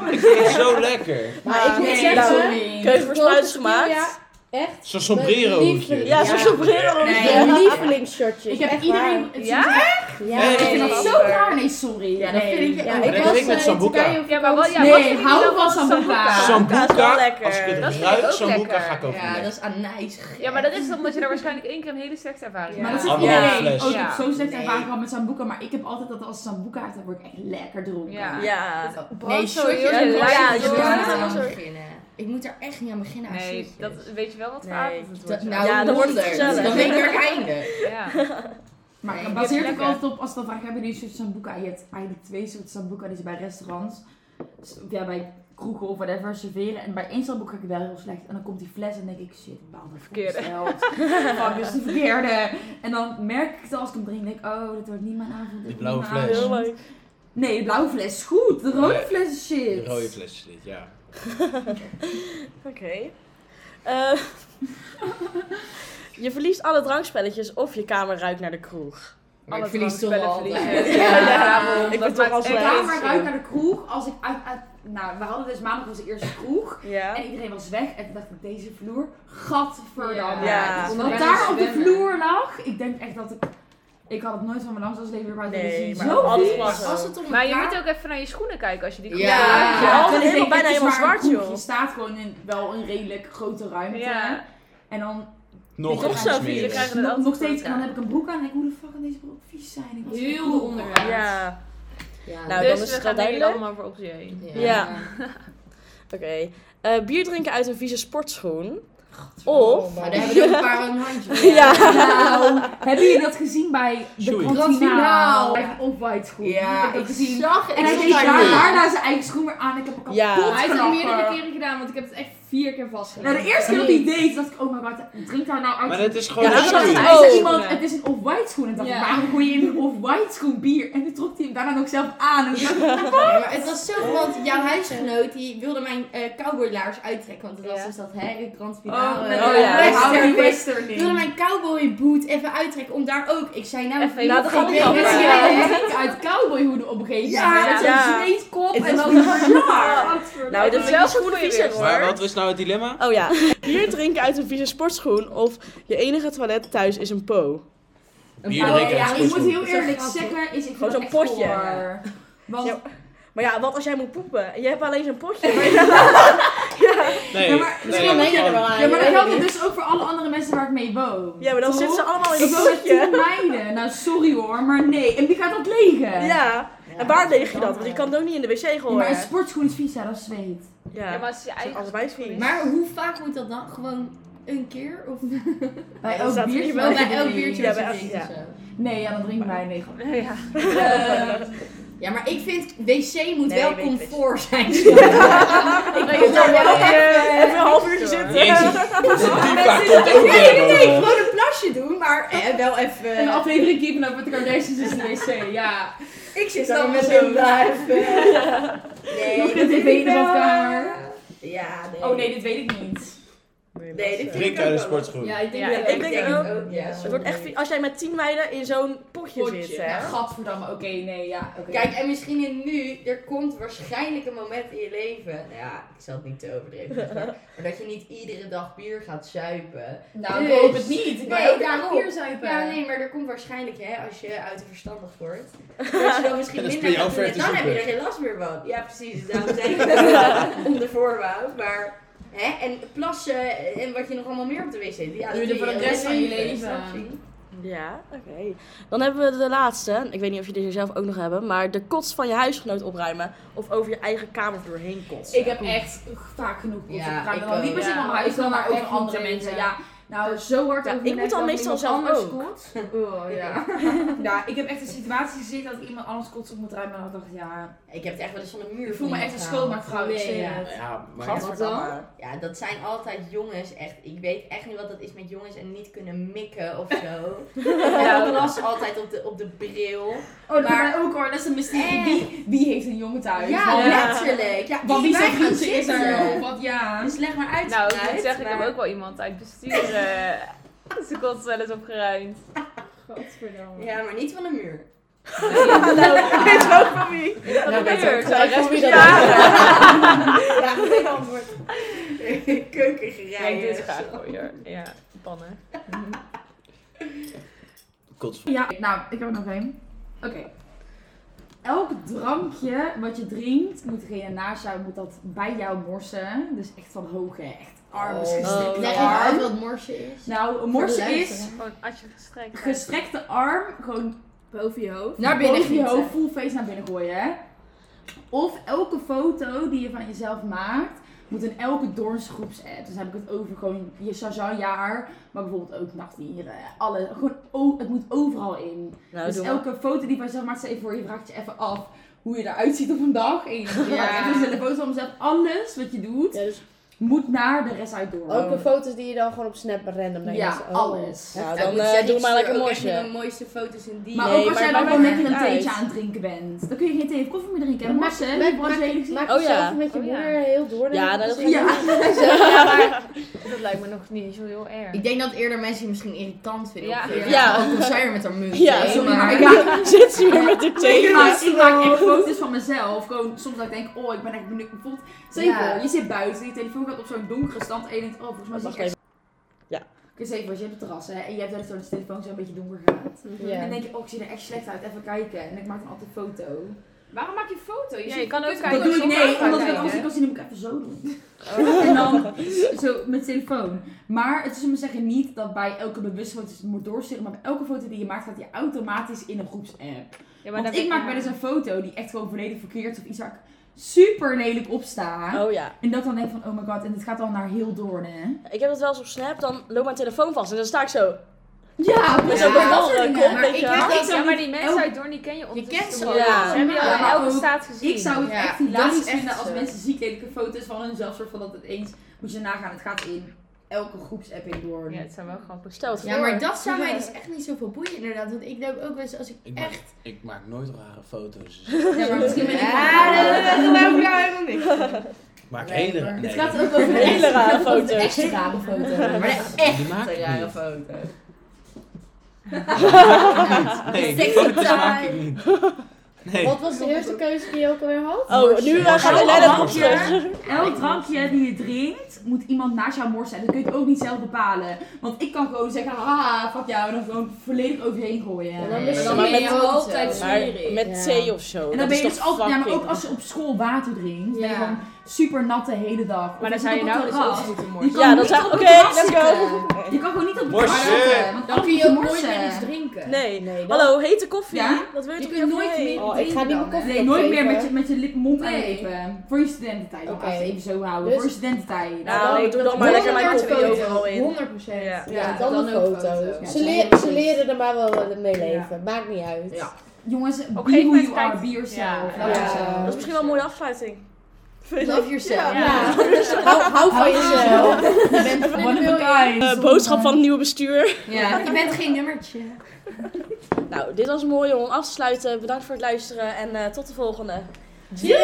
Speaker 6: lekker. Ik vind het zo lekker.
Speaker 5: Maar ik moet
Speaker 7: nee,
Speaker 5: zeggen,
Speaker 1: Nou, Keuze voor spruitjes gemaakt.
Speaker 5: Ja, echt.
Speaker 6: Zo'n
Speaker 5: Mijn
Speaker 6: sombrero.
Speaker 5: lieve-
Speaker 1: Ja, zo'n
Speaker 5: Ja.
Speaker 1: sombrero.
Speaker 5: Mijn lievelingsshotje.
Speaker 7: Ik heb
Speaker 5: echt
Speaker 7: iedereen...
Speaker 5: waar.
Speaker 7: het-
Speaker 2: Ja?
Speaker 5: Ja,
Speaker 6: Nee,
Speaker 3: ik vind
Speaker 5: nee.
Speaker 3: dat zo raar. Nee, sorry.
Speaker 7: Ja,
Speaker 3: dat
Speaker 7: nee.
Speaker 3: vind ik...
Speaker 5: Ja,
Speaker 3: oh,
Speaker 5: ik
Speaker 6: dat
Speaker 5: was
Speaker 6: deed ik met
Speaker 5: eh, in
Speaker 6: Sambuca.
Speaker 5: Turkije op
Speaker 2: Ja, maar wat, ja,
Speaker 3: Nee,
Speaker 2: wat vind je
Speaker 3: hou
Speaker 2: dan
Speaker 3: van sambuca.
Speaker 6: Sambuca,
Speaker 2: is wel lekker.
Speaker 6: Als ik het
Speaker 2: Dat vind ik
Speaker 6: ruik,
Speaker 2: ook
Speaker 6: sambuca
Speaker 2: lekker.
Speaker 6: ga ik
Speaker 3: ja,
Speaker 6: overnemen.
Speaker 3: dat is anijs.
Speaker 2: Ja, maar dat is omdat je daar waarschijnlijk één keer een hele slechte ervaring
Speaker 3: Ja.
Speaker 7: Maar dat
Speaker 2: hebt.
Speaker 7: zegt
Speaker 6: Allemaal
Speaker 7: iedereen.
Speaker 6: fles.
Speaker 7: Oh, ik
Speaker 2: Ja.
Speaker 7: heb zo slecht
Speaker 3: Nee.
Speaker 7: ervaring gehad met Sambuca. Maar ik heb altijd dat als Sambuca uit, dan word ik echt lekker dronken.
Speaker 2: Ja.
Speaker 1: Ja.
Speaker 3: Nee,
Speaker 2: zo
Speaker 3: sorry.
Speaker 2: heel
Speaker 3: hoor,
Speaker 2: erg
Speaker 3: ik moet
Speaker 2: light
Speaker 3: er
Speaker 2: door.
Speaker 3: niet aan
Speaker 1: Ja, sorry.
Speaker 3: beginnen. Ik moet er echt niet aan beginnen.
Speaker 2: Nee,
Speaker 3: alsjeblieft.
Speaker 2: dat, weet je wel wat voor
Speaker 1: Nee.
Speaker 2: avond het
Speaker 3: Dat-
Speaker 2: wordt?
Speaker 3: nou,
Speaker 1: Ja, dan wordt het
Speaker 3: honderd.
Speaker 1: gezellig.
Speaker 3: Dan weet ik er einde.
Speaker 2: ja.
Speaker 7: Maar
Speaker 3: Nee,
Speaker 7: het baseert ook
Speaker 2: lekker.
Speaker 7: altijd op, als dat vraag hebben jullie een soort Sambuca? Je hebt eigenlijk twee soorten Sambuca die ze bij restaurants, s- ja, bij kroegen of whatever, serveren. En bij één Sambuca heb ik wel heel slecht. En dan komt die fles en denk ik, shit, ik baal de
Speaker 2: Verkeerde.
Speaker 7: Fuck, dit is de verkeerde. En dan merk ik het als ik hem drink, denk ik, oh, dit wordt niet mijn avond. dit wordt
Speaker 6: Die
Speaker 7: niet
Speaker 6: blauwe
Speaker 7: mijn
Speaker 6: fles.
Speaker 7: avond.
Speaker 1: Heel leuk.
Speaker 7: Nee, de blauwe fles is goed. De rode
Speaker 6: Nee,
Speaker 7: fles is
Speaker 6: De
Speaker 7: shit.
Speaker 6: rode flesjes dit, ja.
Speaker 1: Oké. Eh, je verliest alle drankspelletjes of je kamer ruikt naar de kroeg.
Speaker 3: Maar ik
Speaker 2: Alle
Speaker 3: verlies toch wel
Speaker 2: drankspellen
Speaker 3: altijd.
Speaker 2: verliezen.
Speaker 7: Ja.
Speaker 2: daarom.
Speaker 1: Ik ben
Speaker 2: Dat
Speaker 1: toch
Speaker 2: maakt
Speaker 1: als
Speaker 2: echt
Speaker 7: Ik
Speaker 1: wij-
Speaker 7: ga
Speaker 2: uit.
Speaker 7: maar ruik naar de kroeg. Als ik uit, uit, nou, we hadden dus maandag onze eerste kroeg.
Speaker 1: Ja.
Speaker 7: En iedereen was weg. En toen dacht ik, deze vloer, gadverdamme.
Speaker 1: Ja.
Speaker 7: Wat
Speaker 1: Ja.
Speaker 7: daar op de vloer lag, ik denk echt dat ik... Ik had het nooit van mijn langzaamsleven weer buiten
Speaker 1: Nee,
Speaker 7: gezien.
Speaker 1: maar
Speaker 7: Zo
Speaker 1: alles
Speaker 7: vies.
Speaker 1: was er.
Speaker 3: Als het om
Speaker 2: Maar je
Speaker 3: elkaar-
Speaker 2: moet ook even naar je schoenen kijken als je die
Speaker 3: Ja.
Speaker 2: komt.
Speaker 1: Ja,
Speaker 7: Ja,
Speaker 1: alles
Speaker 7: en ik
Speaker 1: helemaal-
Speaker 7: denk,
Speaker 1: bijna
Speaker 7: het is
Speaker 1: helemaal
Speaker 7: maar een
Speaker 1: zwart,
Speaker 7: kroeg.
Speaker 1: joh.
Speaker 7: Je staat gewoon in wel een redelijk grote ruimte.
Speaker 2: Ja.
Speaker 7: En dan
Speaker 6: Nog
Speaker 7: Toch
Speaker 6: iets
Speaker 7: zo,
Speaker 6: meer.
Speaker 2: je krijgt- Ja, dat
Speaker 7: nog, nog
Speaker 2: is
Speaker 7: steeds,
Speaker 2: ook,
Speaker 7: en dan
Speaker 2: ja.
Speaker 7: heb ik een broek aan en ik, hoe de fuck kan deze broek vies zijn? Ik was
Speaker 3: Heel
Speaker 7: cool.
Speaker 3: onderuit.
Speaker 1: Ja.
Speaker 3: Ja.
Speaker 1: Nou, dan is
Speaker 2: Dus we
Speaker 1: het
Speaker 2: gaan
Speaker 1: wel
Speaker 2: jullie
Speaker 1: duidelijk.
Speaker 2: allemaal voor optie 1.
Speaker 1: Ja. Oké. Eh, bier drinken uit een vieze sportschoen.
Speaker 3: Maar
Speaker 1: Of...
Speaker 3: daar hebben we ook een paar een handje.
Speaker 1: Ja.
Speaker 7: Nou, hebben jullie dat gezien bij de
Speaker 6: Sjoei.
Speaker 7: Grantinaal?
Speaker 3: Grantinaal.
Speaker 7: Bij een off-white school.
Speaker 3: Ja,
Speaker 7: heb dat
Speaker 3: ik
Speaker 7: gezien.
Speaker 3: zag het.
Speaker 7: En hij
Speaker 3: Ik
Speaker 7: deed
Speaker 3: zag
Speaker 7: daar,
Speaker 3: het.
Speaker 7: daarna zijn eigen schoen weer aan. Ik heb ook al
Speaker 1: Ja.
Speaker 7: kapot
Speaker 4: Hij heeft het
Speaker 7: gelachen.
Speaker 4: meerdere keren gedaan, want ik heb het echt vier keer vastgelegd.
Speaker 7: Nou, de eerste keer dat hij deed, dacht ik, oh my god, drinkt hij nou uit?
Speaker 6: Maar
Speaker 7: het
Speaker 6: het is gewoon
Speaker 1: Ja,
Speaker 6: een
Speaker 1: dat was
Speaker 6: schoen.
Speaker 1: het.
Speaker 7: Hij zei
Speaker 1: Oh.
Speaker 7: iemand, het is een off-white schoen. En dacht
Speaker 4: Ja.
Speaker 7: ik, waarom gooi je in een off-white schoen bier? En toen trok hij hem daarna ook zelf aan. En toen dacht ik,
Speaker 3: Ja, maar het was zo, want jouw huisgenoot die wilde mijn eh cowboylaars uittrekken. Want het was
Speaker 2: Ja.
Speaker 3: dus dat, hè, Grand
Speaker 7: oh,
Speaker 3: Finale.
Speaker 7: met
Speaker 1: Oh,
Speaker 7: de
Speaker 1: ja.
Speaker 7: western,
Speaker 3: western.
Speaker 7: western
Speaker 3: Ik wilde
Speaker 7: in.
Speaker 3: mijn cowboyboot even uittrekken om daar ook. Ik zei nou,
Speaker 2: Even-
Speaker 3: ik
Speaker 2: Nou,
Speaker 3: wil
Speaker 2: dat
Speaker 3: geen
Speaker 2: gaat
Speaker 3: baby.
Speaker 2: niet
Speaker 7: Mensen
Speaker 2: Ja.
Speaker 7: gingen echt uit cowboyhoeden op een gegeven moment.
Speaker 3: Ja.
Speaker 7: Met
Speaker 1: Ja.
Speaker 7: zo'n zweetkop
Speaker 1: Het
Speaker 7: en
Speaker 1: was
Speaker 7: dan ja.
Speaker 1: Nou, dat
Speaker 2: is
Speaker 1: vind ik
Speaker 2: wel
Speaker 1: wel
Speaker 2: goed
Speaker 1: goed
Speaker 2: voor je
Speaker 1: viezer
Speaker 2: weer.
Speaker 1: hoor.
Speaker 6: Maar wat is nou het dilemma?
Speaker 1: Oh ja. Bier drinken uit een vieze sportschoen of je enige toilet thuis is een po.
Speaker 6: Bier
Speaker 7: Oh,
Speaker 6: drinken
Speaker 7: ja,
Speaker 6: uit
Speaker 7: ik moet
Speaker 6: sportschoen.
Speaker 7: heel
Speaker 3: Dat is
Speaker 7: eerlijk
Speaker 3: echt
Speaker 7: zeggen, is ik
Speaker 1: Gewoon zo'n
Speaker 7: vind dat echt
Speaker 1: potje.
Speaker 7: goor. Want
Speaker 1: Ja. Maar ja, wat als jij moet poepen? En je hebt alleen zo'n potje.
Speaker 6: Nee,
Speaker 7: Ja, maar
Speaker 6: nee,
Speaker 3: Misschien denk je er wel aan.
Speaker 7: Ja, maar
Speaker 3: ik
Speaker 7: dan
Speaker 3: weet
Speaker 7: geldt het
Speaker 3: het
Speaker 7: dus ook voor alle andere mensen waar ik mee woon.
Speaker 1: Ja, maar dan
Speaker 7: Toch?
Speaker 1: zitten ze allemaal in
Speaker 7: Ik
Speaker 1: een
Speaker 7: woon met
Speaker 1: potje.
Speaker 7: tien meiden. Nou, sorry hoor, maar nee. En wie gaat dat legen?
Speaker 1: Ja. En waar leg je dat? Want je kan het ook niet in de wc
Speaker 7: Ja, maar een
Speaker 1: gooien.
Speaker 7: sportschoen is vies, hè, dat is zweet.
Speaker 1: Ja.
Speaker 2: Ja, maar als je
Speaker 1: Zijn
Speaker 2: eigen
Speaker 1: allebei vies.
Speaker 3: niet. Maar hoe vaak moet dat dan? Gewoon een keer? Of
Speaker 7: Bij
Speaker 1: dat
Speaker 7: elk
Speaker 1: staat
Speaker 7: biertje.
Speaker 1: hier
Speaker 3: wel
Speaker 1: wel
Speaker 7: wat je
Speaker 3: bij elk
Speaker 7: drinkt.
Speaker 3: biertje?
Speaker 1: Ja,
Speaker 3: wat je
Speaker 1: bij elk-
Speaker 3: drinkt
Speaker 1: ja.
Speaker 3: of zo?
Speaker 7: Nee, ja, dan drink ik mij nee. grap.
Speaker 2: Ja.
Speaker 3: Ja, maar ik vind wc moet
Speaker 1: Nee,
Speaker 3: wel
Speaker 1: weet-
Speaker 3: comfort zijn.
Speaker 2: Ik weet
Speaker 1: daar wel
Speaker 2: wel
Speaker 1: Even een half uurtje zitten.
Speaker 6: Jezus, die vaak komt ook
Speaker 3: Nee, nee,
Speaker 6: weer
Speaker 3: nee,
Speaker 6: boven.
Speaker 3: gewoon een plasje doen, maar eh, wel even.
Speaker 7: Een aflevering Keeping Up with the Kardashians is de wc, ja.
Speaker 3: ik zit
Speaker 1: Zou
Speaker 3: dan
Speaker 1: je
Speaker 3: met eh,
Speaker 1: zo
Speaker 3: hem blijven. Nee,
Speaker 7: Nog een
Speaker 3: dat
Speaker 7: tv
Speaker 3: vind
Speaker 7: in
Speaker 3: ik
Speaker 7: de
Speaker 3: wel.
Speaker 7: badkamer.
Speaker 3: Ja, nee.
Speaker 7: Oh nee, dit weet ik niet.
Speaker 3: Nee, dit vind
Speaker 6: Drink
Speaker 3: ik ook
Speaker 6: uit
Speaker 3: wel
Speaker 6: een
Speaker 3: wat.
Speaker 6: sportschoen.
Speaker 4: Ja, ik denk
Speaker 2: Ja,
Speaker 4: dat
Speaker 1: ik
Speaker 4: ook.
Speaker 1: denk
Speaker 3: het
Speaker 1: ook.
Speaker 3: ook, ja.
Speaker 1: Het wordt echt vies als jij met tien meiden in zo'n potje, zit.
Speaker 7: Potje.
Speaker 1: Hè?
Speaker 7: Ja, gadverdamme. Oké, nee, ja. oké.
Speaker 3: Kijk, en misschien in nu, er komt waarschijnlijk een moment in je leven. Nou ja, ik zal het niet te overdreven zeggen. Maar maar dat je niet iedere dag bier gaat zuipen.
Speaker 7: nou,
Speaker 3: dus-
Speaker 7: ik hoop het niet. Ik
Speaker 3: Nee,
Speaker 7: nee,
Speaker 3: daarom.
Speaker 7: bier zuipen.
Speaker 3: Ja, nee, maar er komt waarschijnlijk, hè, als je uit de verstandig wordt. Dat je dan misschien
Speaker 6: En dan
Speaker 3: minder
Speaker 6: speel je
Speaker 3: gaat
Speaker 6: over
Speaker 3: doen.
Speaker 6: het
Speaker 3: En dan
Speaker 6: is
Speaker 3: heb
Speaker 6: ook
Speaker 3: je er geen last meer van. Ja, precies. Daarom zei ik het eh, onder voorbouw. Maar, hè, en plassen en wat je nog allemaal meer op de wc doet. Ja, dat
Speaker 7: Doe je
Speaker 3: doe
Speaker 7: voor de
Speaker 3: je
Speaker 7: rest
Speaker 3: heel
Speaker 7: van je
Speaker 3: snap
Speaker 7: leven.
Speaker 3: je?
Speaker 1: Ja, oké. Dan hebben we de laatste. Ik weet niet of jullie deze zelf ook nog hebben. Maar de kots van je huisgenoot opruimen. Of over je eigen kamer doorheen kotsen.
Speaker 7: Ik heb echt vaak genoeg koffie
Speaker 3: Ja,
Speaker 7: gedronken.
Speaker 3: ik
Speaker 7: Dan
Speaker 3: ook.
Speaker 7: Niet per se
Speaker 2: Ja,
Speaker 7: van mijn
Speaker 2: ik
Speaker 7: huis,
Speaker 2: kan
Speaker 7: maar
Speaker 2: daar
Speaker 7: ook
Speaker 2: echt
Speaker 7: van andere
Speaker 2: niet
Speaker 7: mensen.
Speaker 2: tegen.
Speaker 7: Ja, nou zo hard
Speaker 1: Ja,
Speaker 7: over
Speaker 1: ik moet dan meestal zelf ook.
Speaker 7: kot. Oh, ja. ja, Nou, ik heb echt een situatie gezeten dat ik iemand anders kots op moet ruimen. En dan dacht ik, ja,
Speaker 3: Ik heb het echt wel eens van de muur
Speaker 7: ik voel me echt een schoonmaakvrouw. ik zweer
Speaker 3: ja.
Speaker 7: het.
Speaker 6: Ja, maar
Speaker 1: Gadverdamme.
Speaker 3: Ja, dat zijn altijd jongens echt. Ik weet echt niet wat dat is met jongens en niet kunnen mikken of zo. ja, dat was altijd op de, op de bril.
Speaker 7: Oh, dat
Speaker 3: Maar-
Speaker 7: maar ook hoor, dat is een mysterie.
Speaker 3: Eh.
Speaker 7: Wie, wie heeft een jongen thuis?
Speaker 3: Ja,
Speaker 2: ja.
Speaker 3: letterlijk. Ja,
Speaker 7: Want wie
Speaker 3: wij
Speaker 7: zijn
Speaker 3: gaan
Speaker 7: vriendje is er?
Speaker 3: zitten.
Speaker 7: Of Wat ja.
Speaker 3: Dus leg maar uit.
Speaker 2: Nou, ik
Speaker 3: Fruit,
Speaker 2: moet zeggen, ik heb
Speaker 3: maar-
Speaker 2: ook wel iemand uit bestuur. eh, Ze komt wel eens opgeruimd.
Speaker 4: Godverdamme.
Speaker 3: Ja, maar niet van de muur.
Speaker 1: Weet je ook van wie?
Speaker 2: Dat
Speaker 3: Nou, weet
Speaker 2: is
Speaker 3: je ook
Speaker 2: weer.
Speaker 3: gelijk
Speaker 2: Zij
Speaker 3: van wie
Speaker 2: is
Speaker 3: dat
Speaker 2: ja.
Speaker 3: Ja, geen antwoord.
Speaker 2: Ja, ik doe het
Speaker 3: Keukengerei.
Speaker 2: graag voor je. hoor. Ja, pannen.
Speaker 6: kots.
Speaker 7: Ja, nou, ik heb er nog één. Oké. Elk drankje wat je drinkt, moet degene naast jou moet dat bij jou morsen. Dus echt van hoog, hè. Echt arm Dus is
Speaker 1: Oh.
Speaker 7: gestrekte
Speaker 3: Leg even
Speaker 7: arm.
Speaker 3: uit wat morsen is.
Speaker 7: Nou, een morsen is
Speaker 3: luisteraar.
Speaker 2: Gewoon als je gestrekt hebt.
Speaker 7: gestrekte arm, gewoon
Speaker 4: Boven je hoofd.
Speaker 3: Naar binnen
Speaker 7: boven je
Speaker 3: gieten.
Speaker 7: hoofd, full face naar binnen gooien, hè. Of elke foto die je van jezelf maakt, moet in elke dorpsgroepsapp. Dus dan heb ik het over gewoon je Shazam-jaar, maar bijvoorbeeld ook nachtdieren. Alle, gewoon, o- het moet overal in.
Speaker 1: Nou,
Speaker 7: dus
Speaker 1: doe maar.
Speaker 7: elke foto die van jezelf maakt, stel je voor, je vraagt je even af hoe je eruit ziet op een dag. En je
Speaker 3: Ja.
Speaker 7: ja. maakt even een foto van mezelf. Alles wat je doet,
Speaker 5: Ja, dus
Speaker 7: moet naar de rest uit door.
Speaker 5: ook de foto's die je dan gewoon op Snap random naar
Speaker 7: Ja,
Speaker 5: je- oh.
Speaker 7: alles.
Speaker 1: Nou,
Speaker 3: Ja, ik
Speaker 1: dan
Speaker 3: moet
Speaker 1: eh,
Speaker 3: zeggen,
Speaker 1: doe
Speaker 3: ik
Speaker 1: maar
Speaker 3: stuur
Speaker 1: lekker
Speaker 3: ook echt niet
Speaker 1: morsje.
Speaker 3: mijn mooiste foto's in die.
Speaker 7: Maar
Speaker 1: Nee,
Speaker 7: ook als
Speaker 1: maar
Speaker 7: jij
Speaker 1: het
Speaker 7: dan
Speaker 1: maakt
Speaker 7: gewoon
Speaker 1: mij
Speaker 7: lekker een
Speaker 1: niet uit.
Speaker 7: theetje aan het drinken bent. Dan kun je geen thee of koffie meer drinken.
Speaker 5: Ja,
Speaker 7: hè?
Speaker 5: maak,
Speaker 7: Morsen,
Speaker 5: maak-
Speaker 7: die borst
Speaker 5: maak-
Speaker 7: hele ziek.
Speaker 5: maak
Speaker 1: Oh,
Speaker 5: je
Speaker 1: ja.
Speaker 5: selfie met je
Speaker 2: Oh, ja.
Speaker 5: moeder heel door.
Speaker 1: Ja,
Speaker 5: naar
Speaker 1: dat
Speaker 5: de
Speaker 1: is-
Speaker 5: zin.
Speaker 7: Ja.
Speaker 2: Ja, maar dat lijkt me nog niet zo heel erg.
Speaker 3: Ik denk dat eerder mensen je misschien irritant vinden.
Speaker 2: Ja.
Speaker 3: op Facebook.
Speaker 1: Ja.
Speaker 3: Ook al zijn er met haar munt.
Speaker 1: Ja,
Speaker 3: hè,
Speaker 7: sorry,
Speaker 3: maar-
Speaker 7: maar
Speaker 1: Zit ze weer met de
Speaker 7: Ik
Speaker 1: thee?
Speaker 7: maak, ik maak echt foto's van mezelf. Gewoon soms dat ik denk, oh, ik ben echt benieuwd. Bijvoorbeeld, stel je
Speaker 3: Ja.
Speaker 7: voor, je zit buiten, je telefoon gaat op zo'n donkere stand en je denkt, oh, volgens mij zie ik
Speaker 1: Wacht
Speaker 7: echt...
Speaker 1: even. Ja.
Speaker 7: Ik zeg even, als je hebt het terras hè, en je hebt echt zo'n telefoon zo een beetje donker gaat. En dan
Speaker 5: Ja.
Speaker 7: denk je, oh, ik zie er echt slecht uit, even kijken. En ik maak dan altijd een foto.
Speaker 4: Waarom maak je een foto?
Speaker 2: Ja, je kan ook
Speaker 7: Dat doe ik
Speaker 2: zonder
Speaker 7: nee,
Speaker 2: elkaar
Speaker 7: omdat ik het
Speaker 2: kijken.
Speaker 7: anders niet kan zien, dan moet ik even zo doen. En dan zo met telefoon. Maar het is om te zeggen niet dat bij elke bewuste foto het moet doorsturen, maar bij elke foto die je maakt gaat je automatisch in een groepsapp.
Speaker 2: Ja,
Speaker 7: Want
Speaker 2: dan
Speaker 7: ik maak wel eens een foto die echt gewoon volledig verkeerd is of iets waar ik super lelijk op sta.
Speaker 1: Oh ja.
Speaker 7: En dat dan denk ik van, oh my god, en het gaat al naar heel Doorn,
Speaker 1: Ik heb het wel eens op Snap, dan loopt mijn telefoon vast en dan sta ik zo.
Speaker 7: Ja,
Speaker 1: Dus
Speaker 7: precies.
Speaker 1: ook wel
Speaker 7: dat soort
Speaker 1: een
Speaker 7: dingen.
Speaker 1: kop,
Speaker 3: maar
Speaker 1: weet
Speaker 3: ik
Speaker 1: je
Speaker 3: heb
Speaker 1: wel.
Speaker 3: dat-
Speaker 2: Ja, maar die mensen
Speaker 7: elk-
Speaker 2: uit Doorn, die ken je ondertussen
Speaker 3: kent ze
Speaker 2: toch
Speaker 1: wel.
Speaker 2: al?
Speaker 1: Ja.
Speaker 2: Ze hebben je al in
Speaker 7: Ja,
Speaker 2: elke
Speaker 7: ook.
Speaker 2: staat gezien.
Speaker 7: Ik zou het
Speaker 3: Ja,
Speaker 7: echt
Speaker 3: dat
Speaker 7: hilarisch
Speaker 3: is echt
Speaker 7: vinden als
Speaker 3: zo.
Speaker 7: mensen ziek lelijke foto's van hunzelf, soort van dat het eens, moet je nagaan, het gaat in elke groepsapp in Doorn.
Speaker 2: Ja, het zijn wel grappig.
Speaker 1: Stel het
Speaker 3: Ja, maar dat zou mij dus echt niet zoveel boeien inderdaad. Want ik denk ook wel eens als ik
Speaker 6: Ik maak,
Speaker 3: echt...
Speaker 6: ik maak nooit rare foto's. dus
Speaker 7: Ja, maar misschien ben ik...
Speaker 3: geloof ik nou helemaal niet.
Speaker 6: Ik maak
Speaker 3: Nee,
Speaker 6: hele
Speaker 3: maar-
Speaker 7: Het
Speaker 6: nee,
Speaker 7: gaat
Speaker 6: die-
Speaker 7: ook over
Speaker 1: Hele
Speaker 7: het
Speaker 1: rare
Speaker 7: gaat over de
Speaker 1: foto's.
Speaker 7: Echt rare foto's.
Speaker 3: Maar
Speaker 7: Maar
Speaker 3: echt
Speaker 6: die maak
Speaker 3: een
Speaker 6: ik
Speaker 3: rare
Speaker 6: niet.
Speaker 3: foto.
Speaker 6: Nee, die
Speaker 3: Sexy
Speaker 6: foto's maak ik
Speaker 3: time.
Speaker 6: niet. Nee.
Speaker 5: Wat was de eerste keuze die je ook alweer had?
Speaker 1: Oh, nu eh, gaat
Speaker 7: Elk
Speaker 1: Helena het
Speaker 7: drankje-
Speaker 1: opschrijven.
Speaker 7: Elk drankje die je drinkt, moet iemand naast jou morsen. En dat kun je het ook niet zelf bepalen. Want ik kan gewoon zeggen, ah, fuck jou. En dan gewoon volledig overheen gooien.
Speaker 5: En
Speaker 7: En
Speaker 5: dan misschien
Speaker 3: dan
Speaker 1: ben je
Speaker 5: je ook
Speaker 3: altijd
Speaker 5: zo.
Speaker 1: Maar
Speaker 5: Ja.
Speaker 1: met thee of zo.
Speaker 7: dan ben je
Speaker 1: is
Speaker 7: dus
Speaker 1: toch
Speaker 7: altijd, ja, maar
Speaker 1: fucking-
Speaker 7: ook als je op school water drinkt, ben
Speaker 3: Ja.
Speaker 7: je gewoon super nat de hele dag. Of
Speaker 2: Maar
Speaker 7: je
Speaker 2: dan zou je
Speaker 7: zit op
Speaker 2: nou
Speaker 7: het
Speaker 2: dus ook
Speaker 7: terras.
Speaker 2: moeten
Speaker 7: Je
Speaker 2: morsen.
Speaker 7: kan
Speaker 1: Ja, dan
Speaker 7: niet
Speaker 1: zou ik,
Speaker 7: op het
Speaker 1: oké,
Speaker 7: terras
Speaker 1: let's go.
Speaker 7: zitten. Je kan gewoon niet op het
Speaker 6: Morsen.
Speaker 7: terras zitten, want
Speaker 3: Dan kun
Speaker 7: moet
Speaker 3: je ook nooit meer
Speaker 7: morsen.
Speaker 3: iets drinken.
Speaker 1: Nee.
Speaker 5: Nee, dat-
Speaker 1: Hallo, hete koffie.
Speaker 7: Ja?
Speaker 1: Dat weet
Speaker 3: Je
Speaker 1: ik
Speaker 3: kunt nooit meer
Speaker 5: Oh, ik ga niet
Speaker 3: drinken dan,
Speaker 5: mijn koffie
Speaker 7: Nee, nooit meer
Speaker 5: opgeven.
Speaker 7: met je, met je lip, mond
Speaker 3: Nee.
Speaker 7: aangeven. Voor je studententijd.
Speaker 5: Oké.
Speaker 7: Laten we het even zo houden.
Speaker 5: Dus-
Speaker 7: Voor je studententijd.
Speaker 1: Nou,
Speaker 5: Ja,
Speaker 1: doe
Speaker 5: dat-
Speaker 1: dan maar lekker mijn
Speaker 3: honderd
Speaker 1: koffie
Speaker 3: foto's.
Speaker 1: overal in.
Speaker 3: 100 procent.
Speaker 1: Ja.
Speaker 5: Ja,
Speaker 3: dan
Speaker 5: dan, een
Speaker 3: ook
Speaker 5: foto.
Speaker 3: foto's.
Speaker 5: Ze,
Speaker 7: Ja,
Speaker 5: leer-
Speaker 7: precies.
Speaker 5: ze leren er maar wel eh, mee leven. Maakt niet uit.
Speaker 7: Ja. Jongens, be
Speaker 2: gegeven
Speaker 7: who
Speaker 2: moment
Speaker 7: you are,
Speaker 2: kijkt-
Speaker 7: be yourself.
Speaker 2: Ja.
Speaker 7: Love
Speaker 5: Ja.
Speaker 7: yourself.
Speaker 1: Dat is misschien wel een mooie afsluiting.
Speaker 3: Love yourself.
Speaker 5: Ja. hou, hou van jezelf.
Speaker 7: Je bent one of a kind.
Speaker 1: Eh, boodschap van het nieuwe bestuur.
Speaker 3: Ja, je bent geen nummertje.
Speaker 1: Nou, dit was mooi om af te sluiten. Bedankt voor het luisteren en eh, tot de volgende.
Speaker 3: Doei!